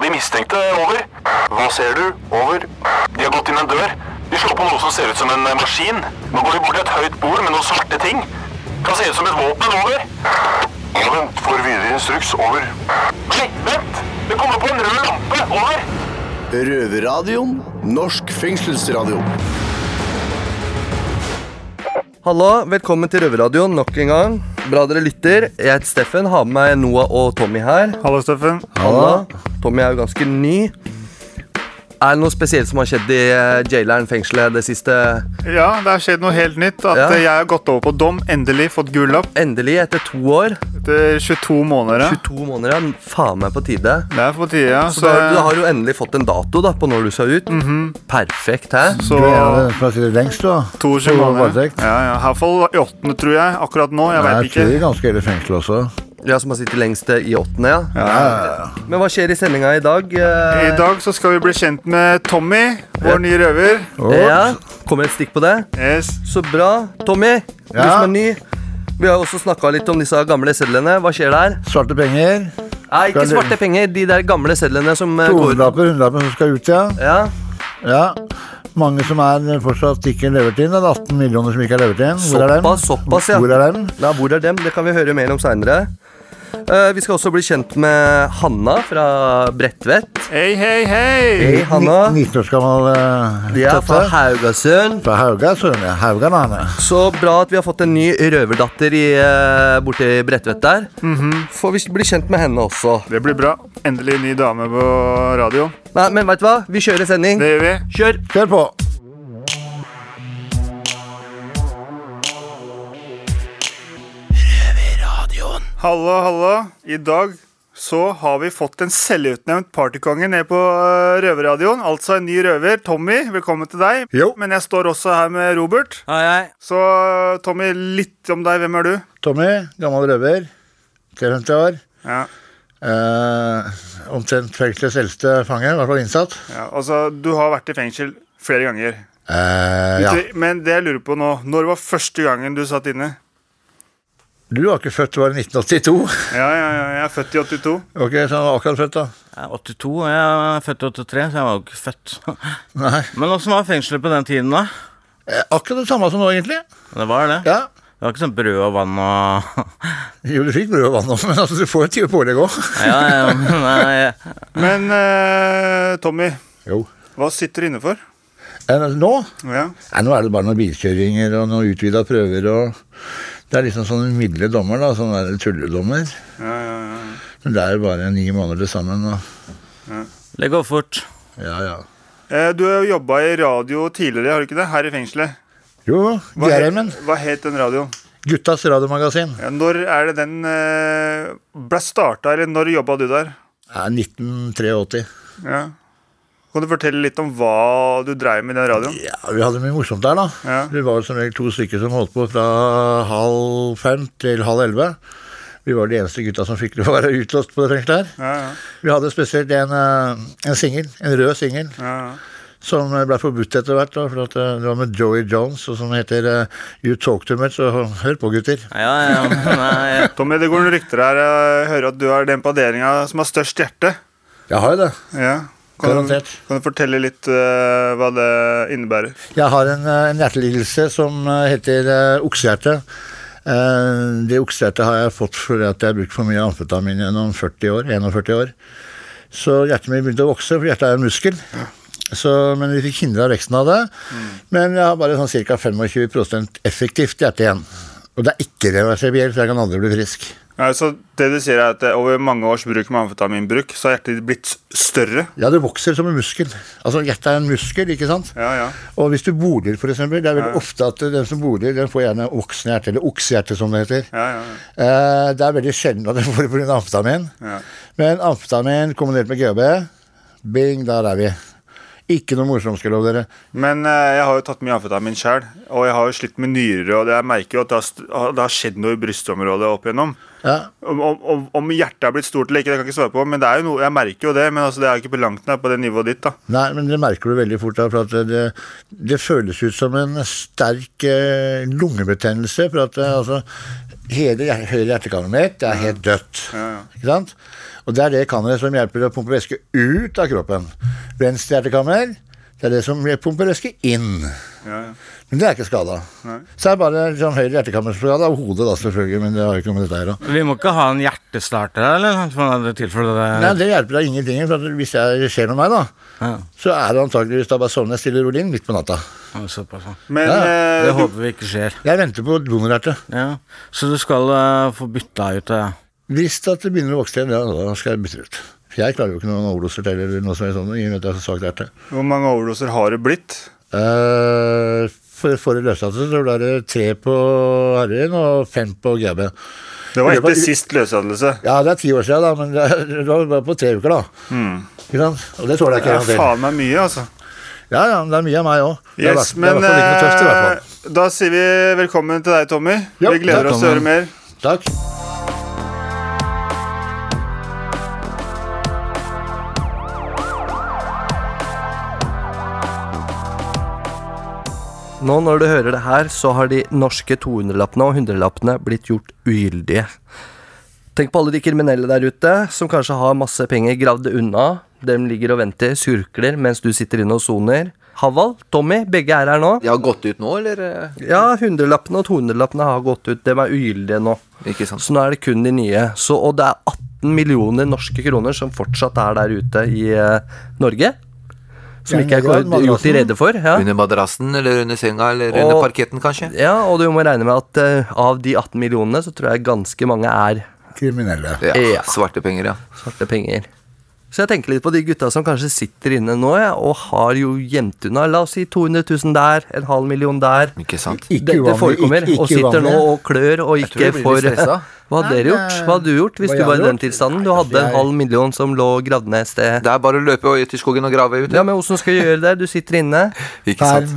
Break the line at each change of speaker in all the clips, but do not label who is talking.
De mistenkte. Over. Hva ser du? Over. De har gått inn en dør. De slår på noe som ser ut som en eh, maskin. Nå går de bort til et høyt bord med noen svarte ting. Kan se ut som et våpen. Over. Vent, får videre instruks. Over. Nei, vent! Det kommer på en rød lampe. Over.
Røverradioen. Norsk fengselsradio.
Hallo, velkommen til Røverradioen nok en gang. Bra dere lytter. Jeg heter Steffen, har med meg Noah og Tommy her.
Hallo, Steffen.
Hallo. Tommy er jo ganske ny. Er det noe spesielt som har skjedd i eh, jaileren, fengselet, det siste?
Ja, det har skjedd noe helt nytt. At
Ja.
eh, jeg har gått over på dom. Endelig fått gullapp
Endelig, etter to år.
etter 22 måneder. ja.
22 måneder, ja. Faen meg på tide.
Det er på tide. ja.
Så
Så, Mhm.
da, du har jo endelig fått en dato da, på når du skal ut. Perfekt, hæ?
så
Du
eh,
er plass til lengst, da.
22
år
måneder.
varetekt.
Ja, ja. Herfall i åttende, tror jeg. Akkurat nå. Jeg
Jeg
veit
tror det
ikke.
er ganske hele fengselet også.
Ja, Som har sittet lengst eh, i åttende, ja.
Ja,
Men hva skjer i sendinga i dag? Eh,
I dag så skal vi bli kjent med Tommy, vår nye røver.
Ja, Kommer et stikk på det?
Yes.
Så bra. Tommy, du
Ja?
som er ny. Vi har jo også snakka litt om disse gamle sedlene. Hva skjer der?
Svarte penger.
Nei, ikke
Skal du-
svarte penger. De der gamle sedlene som eh, går
Tohundrelapper, hundrelapper som skal ut, ja.
Ja,
ja. Mange som er fortsatt ikke levert inn. Det er 18 millioner som ikke er levert inn. Hvor er dem?
Såpass, såpass, ja.
Hvor er dem?
Nei, hvor er dem? Det kan vi høre mer om seinere. vi skal også bli kjent med Hanna fra Bredtvet.
Hei, hei, hei!
Hei, Hanna.
Ni- 19 år gammel eh,
De er fra
tøffe.
Haugasund.
Fra Hauga, søren. ja. Haugan, han er.
Så bra at vi har fått en ny røverdatter i, eh, borti Bredtvet der.
Mhm.
Får vi bli kjent med henne også.
Det blir bra. Endelig ny dame på radioen.
Nei, men veit du hva? Vi kjører sending.
Det gjør vi.
Kjør!
Kjør på.
Hallo, hallo. I dag så har vi fått en selvutnevnt partykonge ned på eh, røverradioen. Altså en ny røver. Tommy, velkommen til deg.
Jo.
Men jeg står også her med Robert.
Hei, hei.
Så eh, Tommy, litt om deg. Hvem er du?
Tommy, gammel røver. 53 år.
Ja.
Eh, omtrent fengselets eldste fange, i hvert fall innsatt.
ja. Altså, du har vært i fengsel flere ganger.
Eh, ja.
Men det jeg lurer på nå, når var første gangen du satt inne?
Du var ikke født, du var i 1982.
Ja, ja, ja. Jeg er født i 82.
Ok, så han var akkurat født, da.
Jeg er 82, og jeg er født i 83, så jeg var jo ikke født.
Nei.
Men åssen var fengselet på den tiden, da?
Eh, Akkurat det samme som nå, egentlig.
Det var det.
Ja.
Det var ikke sånn brød og vann og
Jo, du fikk brød og vann, også, men altså, du får et tyve pålegg òg.
Ja, ja, men, eh,
Men eh, Tommy,
Jo.
hva sitter du inne for?
Eh, Nå?
Ja.
Nei, nå er det bare noen bilkjøringer og noen utvida prøver og Det er liksom sånne milde dommer, da. Sånne der tulledommer.
Ja, ja, ja.
Men det er jo bare ni måneder til sammen. Og...
Det går fort.
Ja, ja.
Eh, Du har jobba i radio tidligere, har du ikke det? Her i fengselet.
Jo,
Hva, het-
Gerheimen.
hva het den radioen?
Guttas radiomagasin.
Ja, når er det den eh, ble starta, eller når jobba du der?
Ja, 1983.
Ja. Kan du fortelle litt om hva du dreiv med i den radioen?
Ja, Vi hadde mye morsomt der, da.
Ja.
Vi var som regel to stykker som holdt på fra halv fem til halv elleve. Vi var de eneste gutta som fikk lov å være utlåst på det fengselet her.
Ja, ja,
Vi hadde spesielt en, eh, en singel, en rød singel,
ja, ja.
som ble forbudt etter hvert. da, for at eh, Det var med Joey Jones, og som heter eh, You Talk To Much. Så hør på, gutter.
Ja, ja, men, eh,
Tommy, det går noen rykter her. Jeg hører at du er den på avdelinga som har størst hjerte.
Jeg har jo det.
Ja. Kan, du,
Garantert.
kan du fortelle litt eh, hva det innebærer?
Jeg har en, eh, en hjertelidelse som eh, heter eh, oksehjerte. Eh, Det oksehjertet har jeg fått fordi at jeg har brukt for mye amfetamin gjennom 40 år, 41 år. Så hjertet mitt begynte å vokse, for hjertet er en muskel. Så, men vi fikk hindra veksten av det. Men jeg har bare sånn ca. 25 effektivt hjerte igjen. Og det er ikke reversibelt, så jeg kan aldri bli frisk.
Ja, så det du sier er at eh, Over mange års bruk med amfetaminbruk så har hjertet ditt blitt s- større.
Ja, det vokser som en muskel. Altså, hjertet er en muskel, ikke sant?
Ja, ja.
Og hvis du boler, for eksempel, det er veldig ofte at den som boler, den får gjerne voksne hjerte, eller oksehjerte, som det heter.
ja, ja, ja.
Eh, Det er veldig sjelden at den får det pga. amfetamin.
Ja.
Men amfetamin kombinert med GHB, bing, der er vi. Ikke noe morsomt, skal jeg love dere.
Men eh, jeg har jo tatt mye amfetamin sjøl, og jeg har jo slitt med nyrer. Og det jeg merker jo at det har, st- har- det har skjedd noe i brystområdet opp igjennom.
Ja.
Om, om- om, om hjertet er blitt stort eller ikke, det kan jeg ikke svare på, men det er jo noe, jeg merker jo det. Men altså, det er jo ikke på langt nær på det nivået ditt. da
Nei, men det merker du veldig fort. Da, for at det- det, det føles ut som en sterk eh, lungebetennelse. For at eh, altså, hele hjer- høyre hjertekaret mitt er helt dødt. Ikke sant? Og Og det er det kammeret som hjelper å pumpe væske ut av kroppen. Venstre hjertekammer, det er det som pumper væske inn.
Ja, ja.
Men det er ikke skada. Så er det bare liksom, høyre hjertekammer som er skada, og hodet da selvfølgelig, men det har jo ikke noe med dette her å
Vi må ikke ha en hjertestarter her, eller? Som man hadde tilført det
Nei, det hjelper da ingenting. For at hvis det skjer med meg, da,
Ja,
så er det antakeligvis da bare sovner jeg stille og rolig inn midt på natta.
ja, såpass, ja.
Men
Ja,
eh,
Det
du,
håper vi ikke skjer.
Jeg venter på donorhjerte.
Ja. Så du skal eh, få bytta ut det.
Hvis det at det begynner å vokse igjen, ja, da skal jeg bytte det ut. For jeg klarer jo ikke noen overdoser til eller noe som er sånn, i og med at jeg har så svakt hjerte.
hvor mange overdoser har det blitt?
Eh, for, for det løslatte så ble det tre på heroin og fem på GB.
Det var
Det var-
etter sist løslatelse.
Ja, det er ti år siden, da, men det, er, det var bare på tre uker, da.
Hmm.
Ikke sant? Og det tåler jeg
Det
ikke en
er
gang til.
faen meg mye, altså.
Ja, ja, men det er mye av meg òg. Det er i
Yes,
hvert- det er i
men
hvert fall ikke noe tøft, i hvert fall.
eh, da sier vi velkommen til deg, Tommy.
Ja,
vi gleder oss til å høre
velkommen.
mer.
Takk.
Nå når du hører det her, så har de norske 200-lappene og 100-lappene blitt gjort ugyldige. Tenk på alle de kriminelle der ute som kanskje har masse penger gravd unna. De ligger og venter, surkler mens du sitter inne og soner. Havald, Tommy, begge er her nå.
De har gått ut nå, eller? eh,
Ja, 100-lappene og 200-lappene har gått ut. De er ugyldige nå.
Ikke sant.
Så nå er det kun de nye. Så, og det er 18 millioner norske kroner som fortsatt er der ute i eh, Norge. Som
Ja,
ikke er
Norge har
kor- gjort de
madrassen.
rede for. Ja.
Under madrassen, eller under senga, eller
Og-
under parketten, kanskje?
Ja, og du må regne med at eh, av de 18 millionene, så tror jeg ganske mange er
Kriminelle.
Ja,
Ja.
Svarte penger, ja.
svarte penger. Så jeg tenker litt på de gutta som kanskje sitter inne nå, ja, og har jo gjemt unna, la oss si 200 000 der, en halv million der.
Ikke sant?
Ikke
Dette
uvanlig,
forekommer,
ikke- ikke
og sitter nå
uvanlig.
og klør og
tror
ikke
jeg blir
får
litt stressa.
Hva hadde dere gjort? Hva hadde du gjort hvis
Hva
du
jeg
var i
hadde
den
gjort?
tilstanden? Du
Nei,
hadde en
jeg-
halv million som lå gravd ned et sted.
Det er bare å løpe ut i skogen og grave ut.
Ja, men åssen skal du gjøre det? Du sitter inne.
Ikke sant?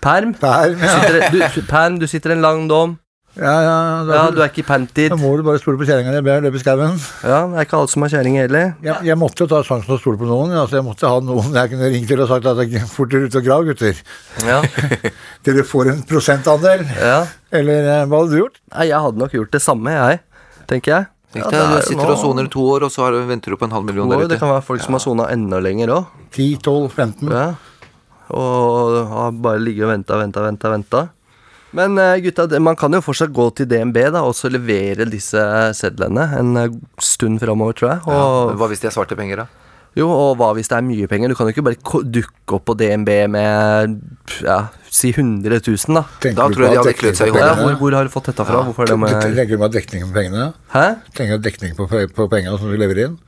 Perm.
Perm.
Perm, ja.
Sitter, du, perm, du sitter en lang dom.
Ja, ja, da,
Ja, du er ikke i
da
panted.
må du bare stole på kjerringa di. Løpe i skauen.
Ja, det er ikke alle som har kjerring heller.
Jeg, jeg måtte jo ta sjansen og stole på noen. Altså, jeg måtte ha noen jeg kunne ringt til og sagt at jeg fort dere ut og grav, gutter.
Ja,
Dere får en prosentandel.
ja.
Eller eh, hva hadde du gjort?
Nei, jeg hadde nok gjort det samme, jeg, tenker jeg.
Tenk
Ja,
deg,
det er
du
jo
sitter og
nå-
soner i to år, og så har du, venter du på en halv million
Wow,
der
det
ute.
kan være folk som har sona enda lenger òg.
10, 12, 15?
Ja. Og har bare ligget og venta, venta, venta, venta. Men eh, gutta, det- man kan jo fortsatt gå til DNB da, og så levere disse sedlene en eh, stund framover, tror jeg.
Ja,
Og,
men hva hvis de er svarte penger, da?
jo, og hva hvis det er mye penger? Du kan jo ikke bare ko- dukke opp på DNB med pff, ja, si 100 000, da.
Tenker
Da
du på
tror jeg de
at
hadde
dekning
klødd seg i
på
Ja,
hodet.
pengene-
hvor, hvor har du fått dette fra? Hvorfor er det med
Tenker du på dekning på pengene?
Hæ?
Tenker du dekning på, pe- på pengene som du leverer inn?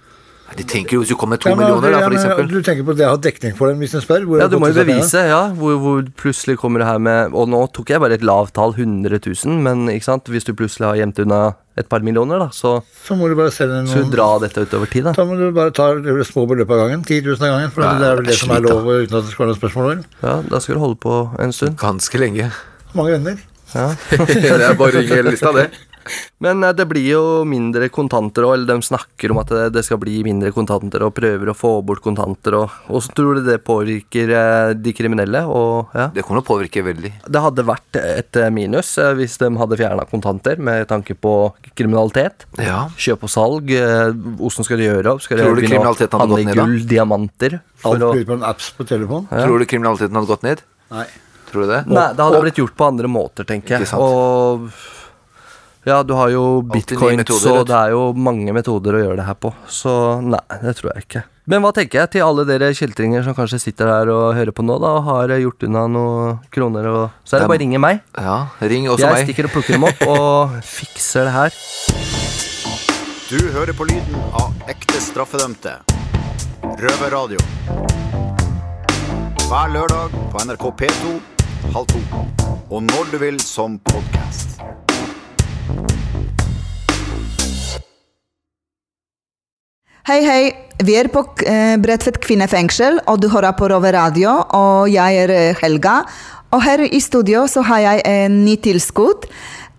De tenker jo hvis du kommer med to
Ja, men-
millioner, da,
ja,
for
men
eksempel.
Du tenker på det å ha dekning for dem hvis de spør? hvor
Ja,
har
du må
fått
jo
disse
bevise, ja. Hvor, hvor plutselig kommer det her med Og nå tok jeg bare et lavt tall, 100 000, men ikke sant? hvis du plutselig har gjemt unna et par millioner, da, så
pengene? Så må du bare selge
skal du
noen
dra dette utover tid, da.
Da må du bare ta små beløp av gangen. 10 000 av gangen. For det er vel det som er lov uten at det skal være noe spørsmål om.
Ja, da skal du holde på en stund.
Ganske lenge.
Hvor mange venner?
det er bare å ringe hele lista, det.
Men eh, det blir jo mindre kontanter, og eller de snakker om at det, det skal bli mindre kontanter, og prøver å få bort kontanter, og Åssen tror du det påvirker eh, de kriminelle? Og, ja.
Det kommer til å påvirke veldig.
Det hadde vært et eh, minus eh, hvis de hadde fjerna kontanter med tanke på kriminalitet.
Ja.
Kjøp og salg. eh, Åssen skal de gjøre opp? Skal de
Tror du
begynne å
kriminaliteten hadde gått
handle
ned da?
Gull, diamanter. For
Alt
å,
blir på en apps på telefon?
Tror du kriminaliteten hadde gått ned?
Nei.
Tror du det?
nei, det hadde blitt gjort på andre måter, tenker jeg.
Ikke sant.
Og ja, du har jo
Alltid nye
bitcoin,
metoder,
så
vet du.
det er jo mange metoder å gjøre det her på. Så nei, det tror jeg ikke. Men hva tenker jeg til alle dere kjeltringer som kanskje sitter der og hører på nå, da, og har eh, gjort unna noen kroner og Så er
Dem.
det bare å ringe meg.
Ja, ring også
Jeg
meg.
stikker og plukker dem opp og fikser det her.
Du hører på lyden av ekte straffedømte. Røverradio. Hver lørdag på NRK P2 halv to. Og når du vil som podkast.
Hei, hei. Vi er på eh, Bredtvet kvinnefengsel, og du hører på Rover Radio. Og jeg er eh, Helga. Og her i studio så har jeg en ny tilskudd.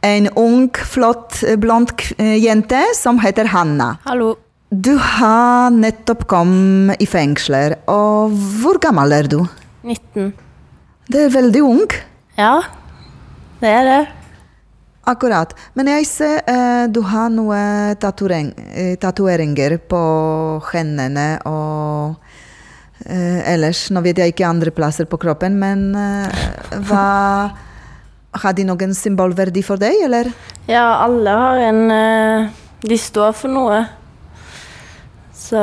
En ung, flott, eh, blond kv- eh, jente som heter Hanna.
Hallo.
Du har nettopp kommet i fengsler, og hvor gammel er du?
19.
Du er veldig ung.
Ja, det er det.
Akkurat. Men jeg ser eh, du har noen e, tatoveringer på hendene og eh, ellers. Nå vet jeg ikke andre plasser på kroppen, men eh, hva Har de noen symbolverdi for deg, eller?
Ja, alle har en eh, De står for noe. Så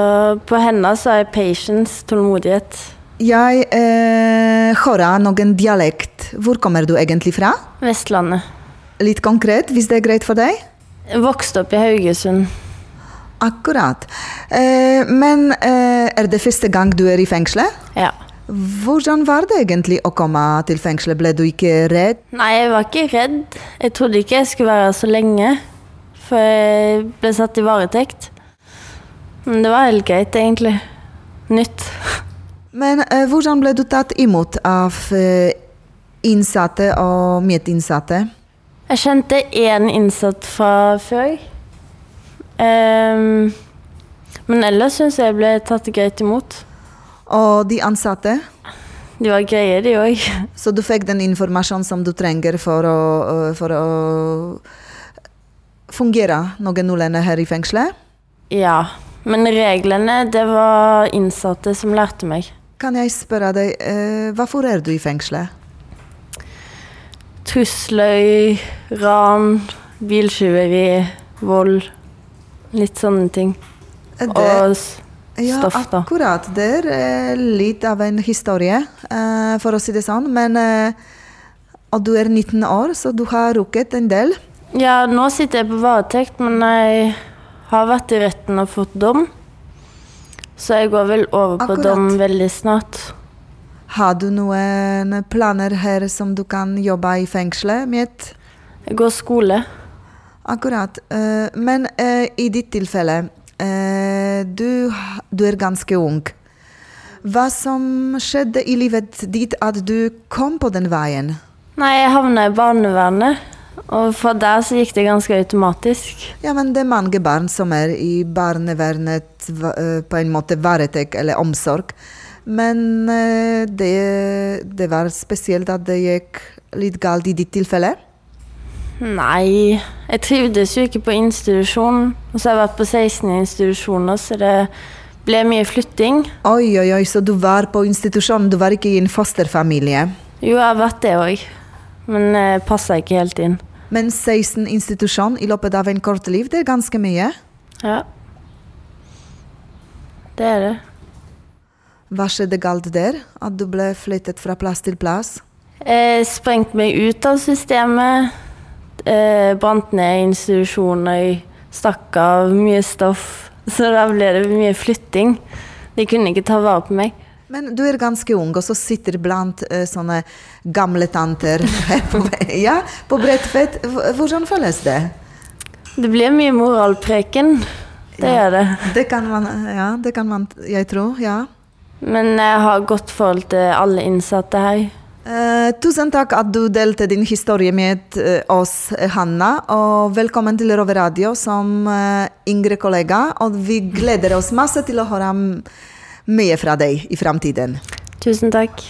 på henne så er patience tålmodighet.
Jeg eh, hører noen dialekt. Hvor kommer du egentlig fra?
Vestlandet.
Litt konkret, hvis det er greit for deg?
Vokste opp i Haugesund.
Akkurat. Eh, men eh, er det første gang du er i fengselet?
Ja.
Hvordan var det egentlig å komme til fengselet? Ble du ikke redd?
Nei, jeg var ikke redd. Jeg trodde ikke jeg skulle være her så lenge. For jeg ble satt i varetekt. Men det var helt greit, egentlig. Nytt.
Men eh, hvordan ble du tatt imot av eh, innsatte og medinnsatte?
Jeg kjente én innsatt fra før. Ehm, men ellers syns jeg jeg ble tatt greit imot.
Og de ansatte?
De var greie, de òg.
Så du fikk den informasjonen som du trenger for å, eh, for å fungere noenlunde her i fengselet?
Ja. Men reglene, det var innsatte som lærte meg.
Kan jeg spørre deg, eh, hvorfor er du i fengselet?
Trusler, ran, biltyveri, vold. Litt sånne ting.
Eh, det-
Og s-
Ja,
stoff, da.
akkurat. Det er eh, litt av en historie, eh, for å si det sånn. Men eh, og du er 19 år, så du har rukket en del.
Ja, nå sitter jeg på varetekt, men jeg har vært i retten og fått dom. Så jeg går vel over på
Akkurat.
dom veldig snart.
Har du noen planer her som du kan jobbe i fengselet med?
Jeg går skole.
Akkurat. Eh, men eh, i ditt tilfelle, eh, du, ha- du er ganske ung. Hva som skjedde i livet ditt at du kom på den veien?
Nei, jeg havna i barnevernet, og fra der så gikk det ganske automatisk.
Ja, men det er mange barn som er i barnevernet va- eh, på en måte varetekt eller omsorg. Men eh, det, det var spesielt at det gikk litt galt i ditt tilfelle.
Nei, jeg trivdes jo ikke på institusjon. Og så har jeg vært på 16 institusjoner, så det ble mye flytting.
Oi, oi, oi, så du var på institusjon, du var ikke i en fosterfamilie.
Jo, jeg har vært det òg, men eh, passa ikke helt inn.
Men 16 institusjon i løpet av en kort liv, det er ganske mye.
Ja. Det er det.
Hva skjedde galt der? At du ble flyttet fra plass til plass?
Jeg sprengte meg ut av systemet. Eh, brant ned institusjoner, stakk av mye stoff. Så da ble det mye flytting. De kunne ikke ta vare på meg.
Men du er ganske ung, og så sitter blant eh, sånne gamle tanter her på, ja, på Bredtvet. Hv- Hvordan føles det?
Det blir mye moralpreken. Det
Ja.
gjør det.
Det kan man, ja, det kan man jeg tror. ja.
Men jeg har godt forhold til alle innsatte her.
Eh, tusen takk at du delte din historie med eh, oss, Hanna. Og velkommen til Rover Radio som eh, yngre kollega. Og vi gleder oss masse til å høre m- mye fra deg i framtiden.
Tusen takk.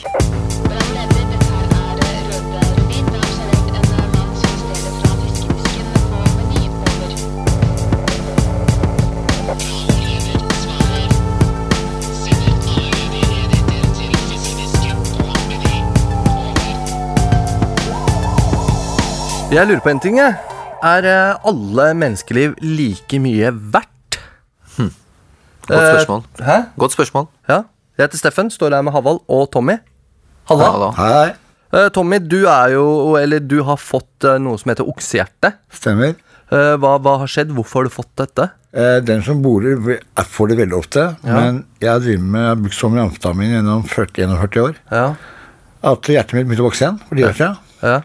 Jeg lurer på en ting, jeg. Er eh, alle menneskeliv like mye verdt?
Hm. Godt spørsmål.
Eh, hæ?
Godt spørsmål.
Ja. Jeg heter Steffen, står her med Havald og Tommy. Halla.
Ja, da.
Hei,
Eh, Tommy, du er jo, eller du har fått eh, noe som heter oksehjerte.
stemmer.
Eh, hva, hva har skjedd? Hvorfor har du fått dette?
Eh, Den som borer, blir- er- får det veldig ofte. Men jeg har drevet med, jeg har brukt så mye amfetamin gjennom 40, 41 år
Ja.
at hjertet mitt begynte å vokse igjen. for de år siden.
ja.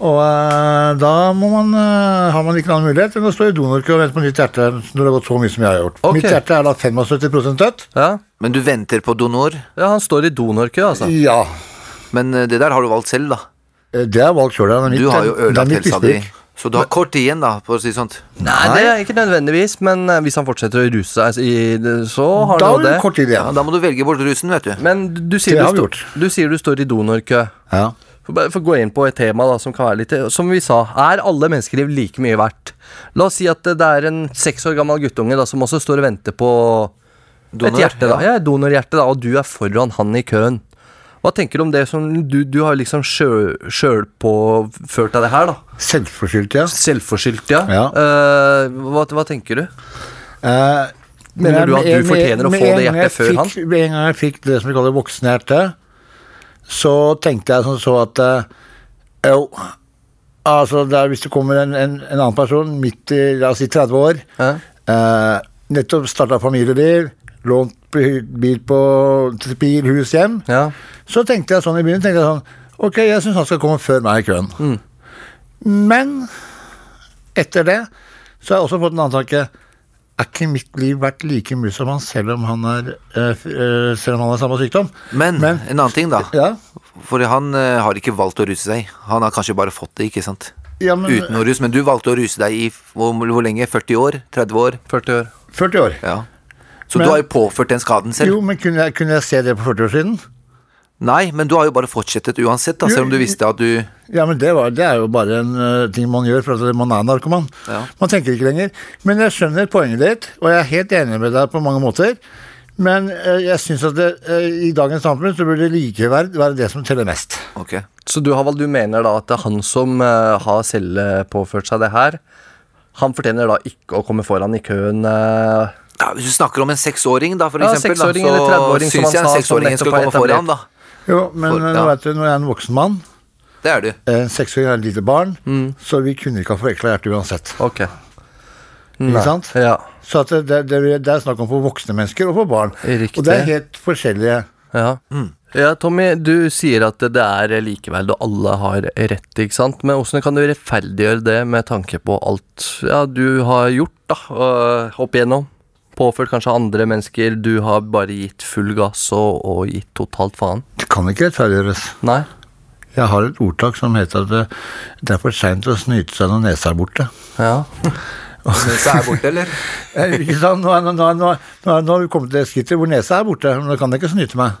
Og eh, da må man, eh, har man ikke noen annen mulighet enn å stå i donorkø og vente på nytt hjerte når det har gått så mye som jeg har gjort.
Ok.
Mitt hjerte er da 75 dødt.
ja.
Men du venter på donor.
Ja, han står i donorkø, altså.
Sånn.
Ja.
Men eh, det der har du valgt selv, da.
Eh, Det er valgt sjøl.
Du har jo ødelagt helsa di. Så du har kort igjen, da, for å si det sånn. sånt.
Nei, det er ikke nødvendigvis, men eh, hvis han fortsetter å ruse seg, i det- så har
Da
han
har
jo
du
det.
kort tid
Ja,
igjen.
Da må du velge bort rusen, vet du.
Men du, du, sier
Det
du,
har vi
sto-
gjort.
du sier du står i donorkø.
Ja.
For bare- for å gå inn på et tema da, som kan være litt Som vi sa, er alle menneskeliv like mye verdt? La oss si at det er en seks år gammel guttunge da, som også står og venter på et
Donor,
hjerte. da
ja.
Ja, et donorhjerte, da, og du er foran han i køen. Hva tenker du om det som Du, du har liksom sjøl- sjølpåført deg det her, da.
Selvforskyldt, ja.
Selvforskyldt, ja.
Ja.
Eh, hva, hva tenker du?
Eh,
Mener
men
du at
med-
du fortjener å
med-
få
med
det
en gang jeg
hjertet før
fikk, Med en gang jeg fikk det som vi kaller voksenhjerte, så tenkte jeg som så at eh, jo, altså det er, hvis det kommer en, en, en annen person midt i la oss si 30 år, eh, nettopp starta familieliv, lånt by- bil på til bil, hus, hjem, så tenkte jeg sånn i byen tenkte jeg sånn, Ok, jeg syns han skal komme før meg i køen.
Mm.
Men etter det så har jeg også fått en annen tanke. Er ikke mitt liv verdt like mye som han, selv om han, er, eh, f- eh, selv om han har samme sykdom?
Men, en annen ting, da.
Ja.
For han eh, har ikke valgt å ruse seg. Han har kanskje bare fått det, ikke sant?
Ja, men-
Uten å ruse, men du valgte å ruse deg i f- hvor, hvor lenge? 40 år? 30 år?
40 år.
40 år.
Ja. Så
Men-
du har jo påført den skaden selv.
Jo, men kunne jeg, kunne jeg se det på 40 år siden?
Nei, men du har jo bare fortsettet uansett, da,
Jo,
selv om du visste at du
Ja, men det, var, det er jo bare en eh, ting man gjør, for at man er narkoman.
Ja.
Man tenker ikke lenger. Men jeg skjønner poenget ditt, og jeg er helt enig med deg på mange måter. Men eh, jeg syns at det, eh, i dagens samfunn så burde likeverd være det som teller mest.
Ok.
Så du, Havald, du mener da at det er han som eh, har selv eh, påført seg det her, han fortjener da ikke å komme foran i køen eh,
Ja, Hvis du snakker om en seksåring, da, for
Ja,
eksempel, da,
seksåring eller 30-åring,
så
som han
syns
sa,
jeg en
som
seksåring
nettopp
skal
er
komme foran, da.
Jo, men
For-
eh, nå
ja.
vet du, når jeg er en voksen mann,
Det er du.
eh, en seksåring er et lite barn,
Mm.
så vi kunne ikke ha forekla hjertet uansett.
Ok.
Ikke sant?
Ja.
Så at det, det, det, det er snakk om for voksne mennesker og for barn.
Riktig.
Og det er helt forskjellige
Ja.
Mm.
ja, Tommy, du sier at det er likeverd, og alle har rett, ikke sant? Men hvordan kan du rettferdiggjøre det med tanke på alt ja, du har gjort, da, øh, opp igjennom? Påført kanskje andre mennesker, du har bare gitt full gass og, og gitt totalt faen?
Det kan ikke rettferdiggjøres.
Nei?
Jeg har et ordtak som heter at det, det er for seint å snyte seg når nesa er borte.
Ja.
Nesa er borte, eller?
Eh, Ikke sant? Nå, er- nå, nå, nå, nå, er- nå har vi kommet til det skrittet hvor nesa er borte, men nå kan jeg ikke snyte meg.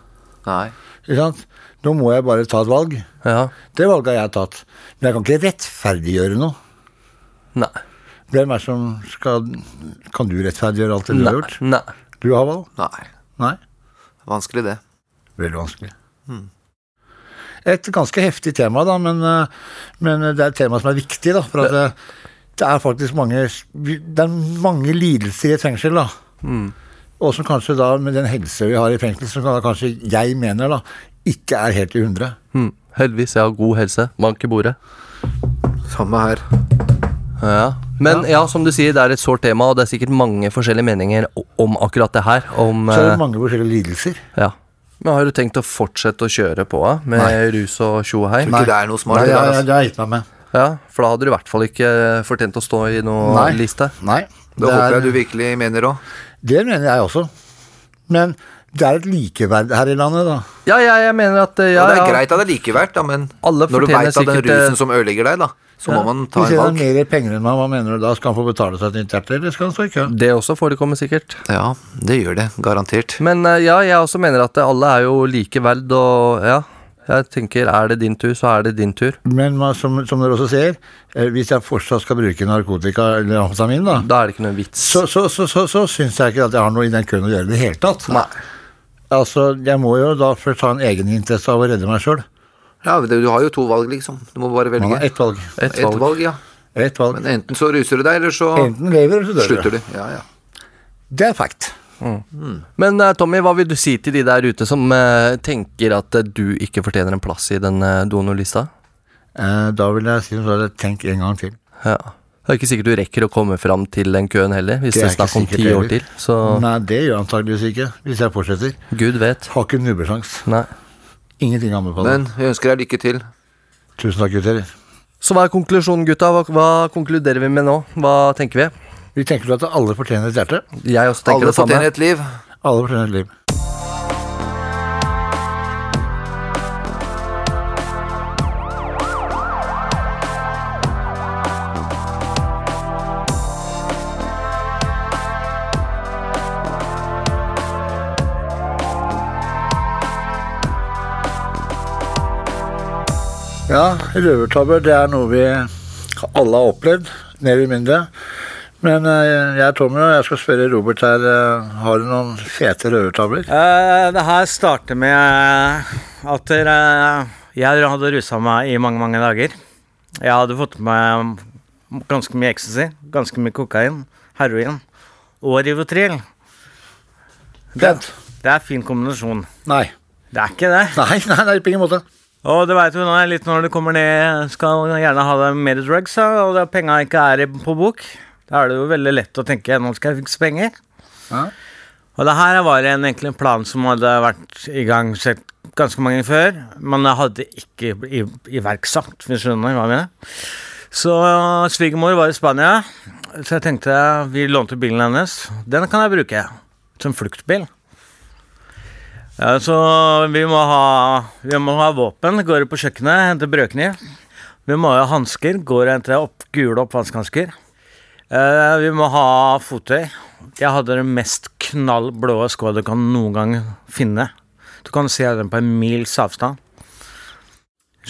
Nei.
Ikke sant? Nå må jeg bare ta et valg.
ja.
Det valget har jeg tatt. Men jeg kan ikke rettferdiggjøre noe.
Nei.
Hvem er det som skal Kan du rettferdiggjøre alt det du
Nei.
har gjort?
Nei.
Du, Havald?
Nei.
Nei?
Vanskelig, det.
Veldig vanskelig.
Hmm.
Et ganske heftig tema, da, men, eh, men det er et tema som er viktig. da, for at eh, Det er faktisk mange det er mange lidelser i et fengsel. da,
Hmm.
Og som kanskje da, med den helse vi har i fengsel, som da kanskje jeg mener da, ikke er helt i hundre.
Hm. Heldigvis, jeg har god helse. Bank i bordet.
Samme her.
Ja. Men ja. som du sier, det er et sårt tema, og det er sikkert mange forskjellige meninger o- om akkurat det her. Om,
Så er
eh,
det mange forskjellige lidelser.
Ja. Men har du tenkt å fortsette å kjøre på eh, med rus og tjo og hei?
Tror ikke det er noe smart.
Nei,
det
ja,
der,
ja,
altså.
det har jeg gitt meg med.
Ja, for da hadde du i hvert fall ikke eh, fortjent å stå i noen
Nei.
liste.
Nei,
Da
det,
håper
er,
jeg du virkelig mener òg.
det mener jeg også. Men det er et likeverd her i landet, da.
Ja, ja, jeg mener at eh, ja,
Ja, det er
ja.
greit at det er likeverd, da, men
Alle
når du
fortjener
veit av den
sikkert, eh,
rusen som ødelegger deg, da, så må man ta
Hvis
en
jeg har
valg.
mer penger enn meg, hva mener du da? Skal han få betale seg et nytt hjerte, eller skal han stå i kø?
Det også forekommer sikkert.
Ja, det gjør det. Garantert.
Men eh, ja, jeg også mener at eh, alle er jo like verd, og ja. Jeg tenker, er det din tur, så er det din tur.
Men man- som, som dere også ser, eh, hvis jeg fortsatt skal bruke narkotika eller amfetamin, da,
Da er det ikke noe vits.
så, så, så, så, så syns jeg ikke at jeg har noe i den køen å gjøre i det hele tatt. Altså, Jeg må jo da først ha en egeninteresse av å redde meg sjøl.
Ja, men det- Du har jo to valg, liksom. Du må bare
Man har
velge.
ett valg.
Et
Ett
valg.
valg, ja.
Ett valg.
Men enten så ruser du deg, eller så
Enten lever eller så dør
slutter
du.
du. Ja, ja.
Det er fact.
Men eh, Tommy, hva vil du si til de der ute som eh, tenker at eh, du ikke fortjener en plass i den eh, donorlista?
Eh, da vil jeg si som så, tenk en gang til.
Ja. Det er ikke sikkert du rekker å komme fram til den køen heller, hvis det,
Det er
er
ikke
snakk om
sikkert
ti år
heller.
til. Så
Nei, det gjør jeg antageligvis ikke, hvis jeg fortsetter.
gud vet.
Har ikke nubbesjans.
Nei.
Ingenting å anbefale.
Men vi ønsker deg lykke til.
Tusen takk, gutter.
Så hva er konklusjonen, gutta? Hva, hva konkluderer vi med nå? Hva tenker vi?
Vi tenker at alle fortjener et hjerte.
Jeg også tenker
Alle
det samme.
fortjener et liv.
Alle fortjener et liv. Ja, røvertabber det er noe vi alle har opplevd, mer eller mindre. Men eh, jeg er Tommy, og jeg skal spørre Robert her. eh, har du noen fete røvertabber?
Eh, det her starter med eh, at dere- eh, jeg hadde rusa meg i mange, mange dager. Jeg hadde fått med meg ganske mye ecstasy, ganske mye kokain, heroin og Rivotril. Det, det er fin kombinasjon.
Nei.
Det er ikke det.
Nei, nei, nei på ingen måte.
Og det veit du nå, litt når du kommer ned, skal gjerne ha deg mer drugs, da, og da penga ikke er i- på bok. Da er det jo veldig lett å tenke nå skal jeg fikse penger. Og det her var en, egentlig en plan som hadde vært i gang sett ganske mange før, men jeg hadde ikke i- iverksatt, hvis du skjønner hva jeg mener. Så svigermor var i Spania, så jeg tenkte vi lånte bilen hennes. Den kan jeg bruke som fluktbil. Ja, så vi må ha, vi må ha våpen. Går på kjøkkenet, henter brødkniv. Vi må ha hansker. Går og henter opp, gule oppvaskhansker. Eh, vi må ha fottøy. Jeg hadde den mest knallblå skoa du kan noen gang finne. Du kan se den på en mils avstand.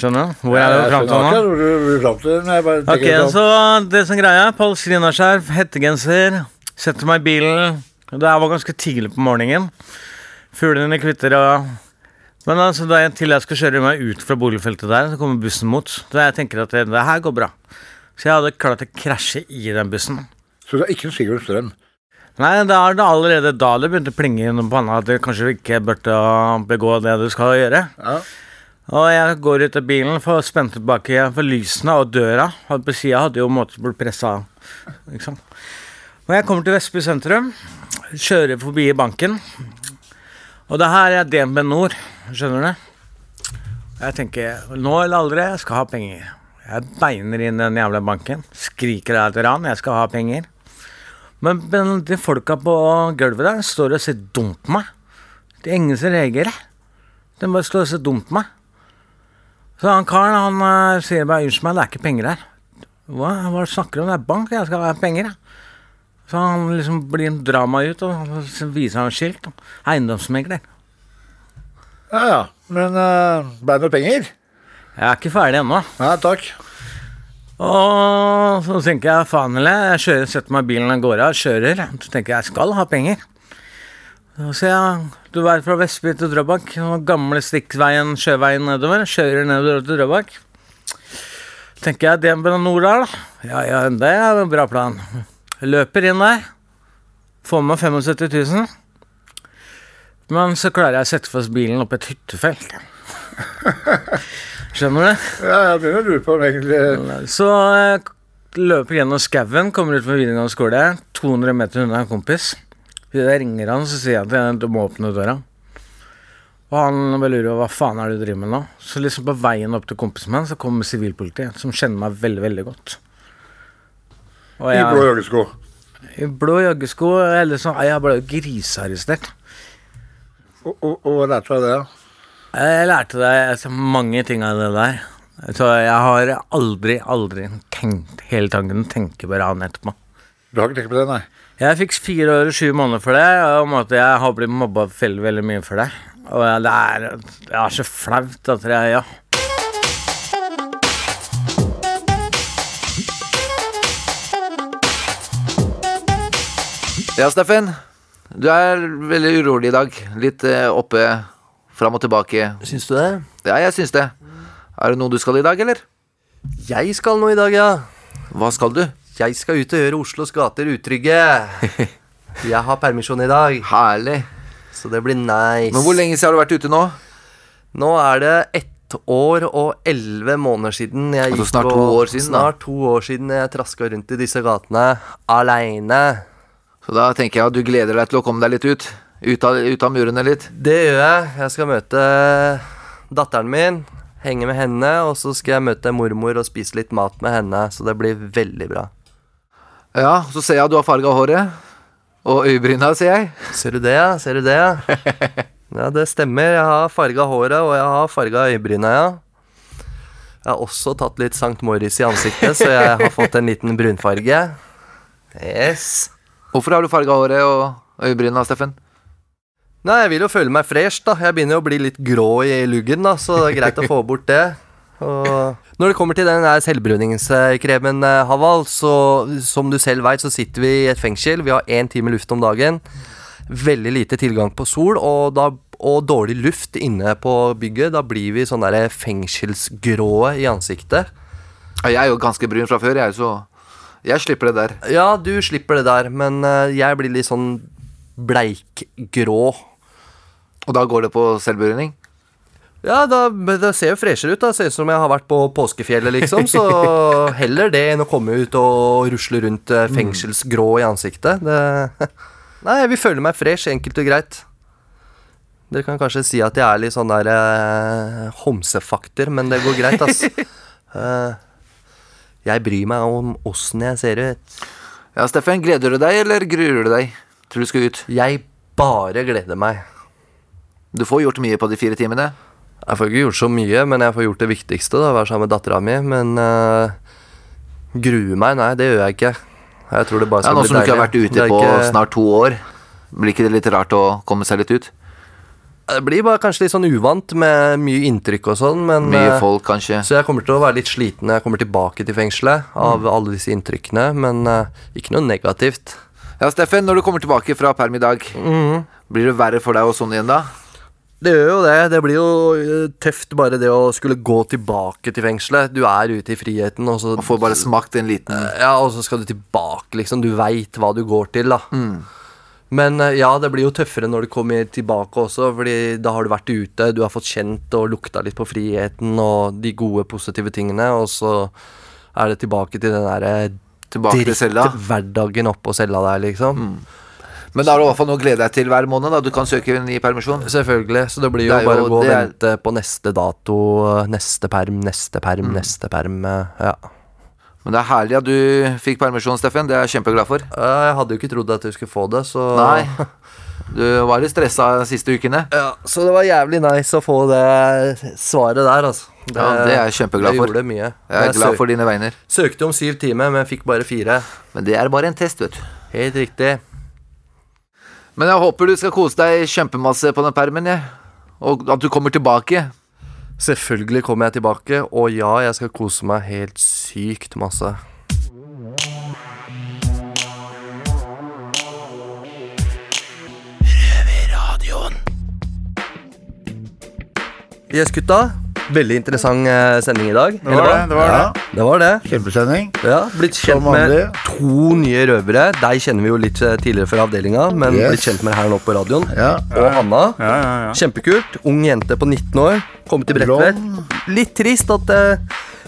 Skjønner du? Hvor er det fram til nå?
Hvor er du- hvor er du fram til nå? Jeg bare
Ok, altså.
tenker litt om-
så det som greia er, Palestinaskjerf, hettegenser, setter meg i bilen. Det her var ganske tidlig på morgenen. Fuglene kvitter og Men altså, da jeg, til jeg skal kjøre meg ut fra boligfeltet der, så kommer bussen mot. Så jeg tenker at det, det her går bra. Så jeg hadde klart å krasje i den bussen.
Så du har ikke Sigurd Strøm?
Nei, det er det allerede da det begynte å plinge gjennom panna at du kanskje ikke burde begå det du skal gjøre. Og jeg går ut av bilen for å spenne tilbake igjen for lysene og døra. Og på sida hadde jo en måte blitt pressa av. Liksom. Og jeg kommer til Vestby sentrum, kjører forbi banken. Og det her er DNB Nord, skjønner du? Og jeg tenker nå eller aldri, jeg skal ha penger. Jeg beiner inn den jævla banken, skriker etter han, jeg skal ha penger. Men, men de folka på gulvet der står og ser dumt på meg. Det er ingen som reagerer. De bare står og ser dumt på meg. Så han karen han eh, sier bare 'unnskyld meg, det er ikke penger her'. Hva, hva snakker du om? Det er bank, jeg skal ha penger. jeg». Så han liksom blir drar meg ut, og så viser han skilt. Eiendomsmegler.
Ja, ja. Men uh, ble det noe penger?
Jeg er ikke ferdig ennå.
Nei, takk.
Og så tenker jeg faen eller jeg kjører, setter meg i bilen og går av, kjører. Så tenker jeg jeg skal ha penger. Så ser jeg du veit fra Vestby til Drøbak, den gamle stikkveien, sjøveien nedover. Kjører nedover til Drøbak. Tenker jeg DNB Nord der, da. Ja, ja, det er en bra plan. Løper inn der. Får med 75 000. Men så klarer jeg å sette fast bilen opp i et hyttefelt. Skjønner du?
Ja, jeg begynner å lure på om egentlig eh,
Så jeg løper gjennom skauen, kommer ut fra videregående skole. 200 meter unna en kompis. Jeg ringer han, så sier jeg at jeg- du må åpne døra. Og han bare lurer på hva faen er det du driver med nå. Så liksom på veien opp til kompisen min, sånn så kommer sivilpolitiet, som kjenner meg veldig, veldig godt. Og
I blå joggesko.
I blå joggesko. Eller sånn. Jeg ble jo grisearrestert.
Og, og, og hva lærte du av det? da?
Jeg lærte deg altså, mange ting av det der. Så jeg har aldri, aldri tenkt hele tanken tenke på han etterpå.
Du har ikke tenkt på det, nei?
Jeg fikk fire år og sju måneder for det, og om at jeg har blitt mobba veldig, veldig mye for det. Og jeg- det er, det er så flaut at jeg Ja.
Ja, Steffen. Du er veldig urolig i dag. Litt eh, oppe, fram og tilbake.
Syns du det?
Ja, jeg syns det. Er det noe du skal i dag, eller?
Jeg skal nå i dag, ja.
Hva skal du?
Jeg skal ut og gjøre Oslos gater utrygge. Jeg har permisjon i dag,
Herlig.
så det blir nice.
Men hvor lenge siden har du vært ute nå?
Nå er det ett år og elleve måneder siden jeg
Altså
gikk
snart to
og-
år siden, da.
Snart to år siden jeg traska rundt i disse gatene aleine.
Så da tenker jeg at du gleder deg til å komme deg litt ut. Ut av, ut av murene litt.
Det gjør jeg. Jeg skal møte datteren min, henge med henne, og så skal jeg møte mormor og spise litt mat med henne, så det blir veldig bra.
Ja, så ser jeg at du har farga håret. Og øyebryna, ser jeg.
Ser du det, ja? Ser du det, ja? Ja, det stemmer. Jeg har farga håret, og jeg har farga øyebryna, ja. Jeg har også tatt litt St. Morris i ansiktet, så jeg har fått en liten brunfarge. Yes.
Hvorfor har du farga håret og øyebryna, Steffen?
Nei, jeg vil jo føle meg fresh, da. Jeg begynner jo å bli litt grå i luggen, da, så det er greit å få bort det. Og når det kommer til den der selvbruningskremen, eh, Haval, så som du selv veit, så sitter vi i et fengsel. Vi har én time luft om dagen. Veldig lite tilgang på sol, og, da, og dårlig luft inne på bygget. Da blir vi sånn derre fengselsgrå i ansiktet.
Jeg er jo ganske brun fra før, jeg, så jeg slipper det der.
Ja, du slipper det der, men eh, jeg blir litt sånn bleikgrå.
Og da går det på selvbruning?
Ja, da, men det ser jo freshere ut. da Ser ut som jeg har vært på påskefjellet, liksom. Så heller det enn å komme ut og rusle rundt eh, fengselsgrå i ansiktet. Det, nei, jeg vil føle meg fresh, enkelt og greit. Dere kan kanskje si at jeg er litt sånn der eh, homsefakter, men det går greit, ass. Eh, jeg bryr meg om åssen jeg ser ut.
Ja, Steffen, gleder du deg, eller gruer du deg? Tror du skal ut?
Jeg bare gleder meg.
Du får gjort mye på de fire timene.
Jeg får ikke gjort så mye, men jeg får gjort det viktigste. da, Være sammen med dattera mi. Men eh, grue meg? Nei, det gjør jeg ikke. Jeg tror det bare
Ja,
skal
Nå
bli
som du
deilig.
ikke har vært
Det
ute
er
på
ikke-
snart to år, blir ikke det litt rart å komme seg litt ut?
Det blir bare kanskje litt sånn uvant med mye inntrykk og sånn, men
Mye
eh,
folk, kanskje.
Så jeg kommer til å være litt sliten når jeg kommer tilbake til fengselet av alle disse inntrykkene, men eh, ikke noe negativt.
Ja, Steffen, når du kommer tilbake fra perm i dag,
Mhm.
blir det verre for deg og sånn igjen da?
Det gjør jo det. Det blir jo eh, tøft bare det å skulle gå tilbake til fengselet. Du er ute i friheten, og så
Og får bare smakt en liten
Eh, Ja, og så skal du tilbake, liksom. Du veit hva du går til, da.
Mm.
Men eh, ja, det blir jo tøffere når du kommer tilbake også, Fordi da har du vært ute, du har fått kjent og lukta litt på friheten og de gode, positive tingene, og så er det tilbake til den derre
Tilbake til cella. Mm.
Hverdagen oppå cella der, liksom.
Men da har du i hvert fall noe å glede deg til hver måned, da. Du kan søke en ny permisjon.
Selvfølgelig. Så det blir jo,
Det er
bare
jo-
å gå og
det er-
vente på neste dato, eh, neste perm, neste perm,
Mm.
neste perm. eh, Ja.
Men det er herlig at du fikk permisjon, Steffen. Det er jeg kjempeglad for.
Eh, Jeg hadde jo ikke trodd at du skulle få det, så
Nei. Du var litt stressa de siste ukene.
Ja, så det var jævlig nice å få det svaret der, altså.
Ja, det er jeg kjempeglad for.
Det gjorde mye.
Jeg er glad for
søk,
dine vegne.
søkte om syv timer, men fikk bare fire.
Men det er bare en test, vet du.
Helt riktig.
Men jeg håper du skal kose deg kjempemasse på den permen, jeg. Og at du kommer tilbake.
Selvfølgelig kommer jeg tilbake, og ja, jeg skal kose meg helt sykt masse. Yes, gutta. Veldig interessant eh, sending i dag.
Det var det. det, var det.
Det var det.
Kjempesending.
Ja, blitt kjent
Som vanlig.
med to nye røvere. Deg kjenner vi jo litt eh, tidligere fra avdelinga, men
Yes.
blitt kjent med her nå på radioen.
Ja.
Og Hanna.
Ja, ja, ja.
Kjempekult. Ung jente på 19 år. Kommet til Bredtvet. Litt trist at det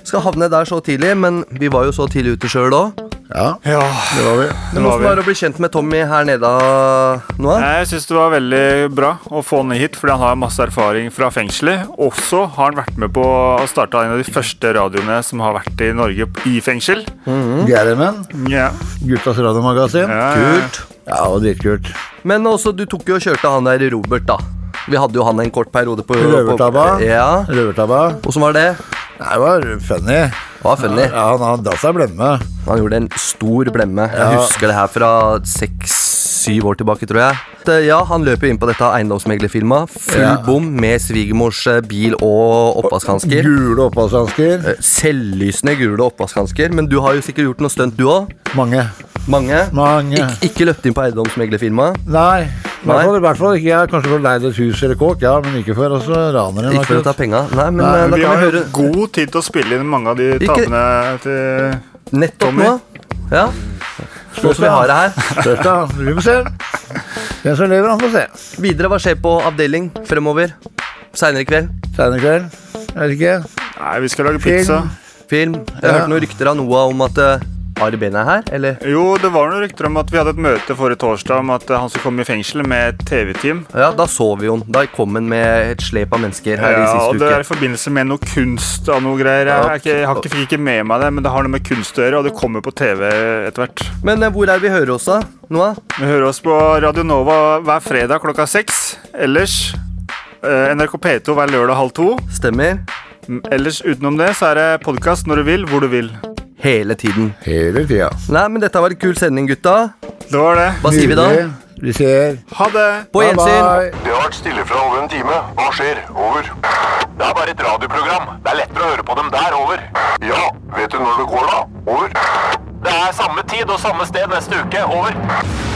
skal havne der så tidlig, men vi var jo så tidlig ute sjøl òg.
ja,
ja.
det var vi.
Det var
Hvordan
vi.
var det å bli kjent med Tommy her nede, Noah?
Nei, Jeg syns det var veldig bra å få han hit, fordi han har masse erfaring fra fengselet. Også har han vært med på å starte en av de første radioene som har vært i Norge i fengsel.
Mm.
Eh,
Gjerrimen.
Ja,
Guttas radiomagasin.
ja, ja.
Kult.
Ja, og dritkult.
Men også, du tok jo og kjørte han der Robert, da. Vi hadde jo han en kort periode på
Røvertabba.
på- Ja.
Røvertabba.
Åssen var det?
Nei, Det var funny.
Det var funny.
Ja, han, han datt seg blemme.
Han gjorde en stor blemme. Jeg husker det her fra seks-syv år tilbake, tror jeg. Det- Ja, Han løper inn på dette eiendomsmeglerfilma. Full
Ja.
bom med svigermors eh, bil og oppvaskhansker.
Gule oppvaskhansker.
Eh. Selvlysende gule oppvaskhansker. Men du har jo sikkert gjort noe stunt, du òg?
Mange.
Mange?
Mange.
Ik ikke løpt inn på eiendomsmeglerfilma?
Nei. I
Nei.
hvert fall, i hvert fall ikke jeg. Kanskje for å leie et hus eller kåk, ja, men ikke for å så rane en.
Ikke for å ta
akkurat.
penga? Nei, men
Nei,
eh, da
Vi
kan
har
vi
jo
høre
god tid til å spille inn mange av de
Ikke-
tapene til
nettopp
Tommy.
nå. Ja. Nå som vi har det her.
Spørs da. Vi får se. Den som lever, han får se.
Videre, hva skjer på avdeling fremover? Seinere i kveld?
Senere i kveld. Jeg vet ikke.
Nei, vi skal lage pizza.
Film? Jeg har
Ja.
hørt noen rykter av Noah om at eh, Ari Behn er her, eller?
Jo, det var noen rykter om at vi hadde et møte forrige torsdag om at eh, han skulle komme i fengsel med et TV-team.
Ja, da så vi jo den. Da kom han med et slep av mennesker her i
Ja, og
siste
det
uke.
er i forbindelse med noe kunst og noe greier. Jeg, er ikke, jeg har ikke, fikk ikke med meg det, men det har noe med kunst å gjøre, og det kommer på TV etter hvert.
Men eh, hvor er vi hører oss, da? Noah?
Vi hører oss på Radio Nova hver fredag klokka seks. Ellers eh, NRK P2 hver lørdag halv to.
Stemmer.
M- Ellers utenom det så er det podkast når du vil, hvor du vil.
Hele tiden.
Hele tida.
Nei, men dette var en kul sending, gutta.
Det var det.
Hva sier vi da?
Vi ser.
Ha det!
På gjensyn.
Bye.
Det har vært stille fra over en time. Hva skjer? Over. Det er bare et radioprogram. Det er lettere å høre på dem der. Over. Ja, vet du når det går, da? Over. Det er samme tid og samme sted neste uke. Over.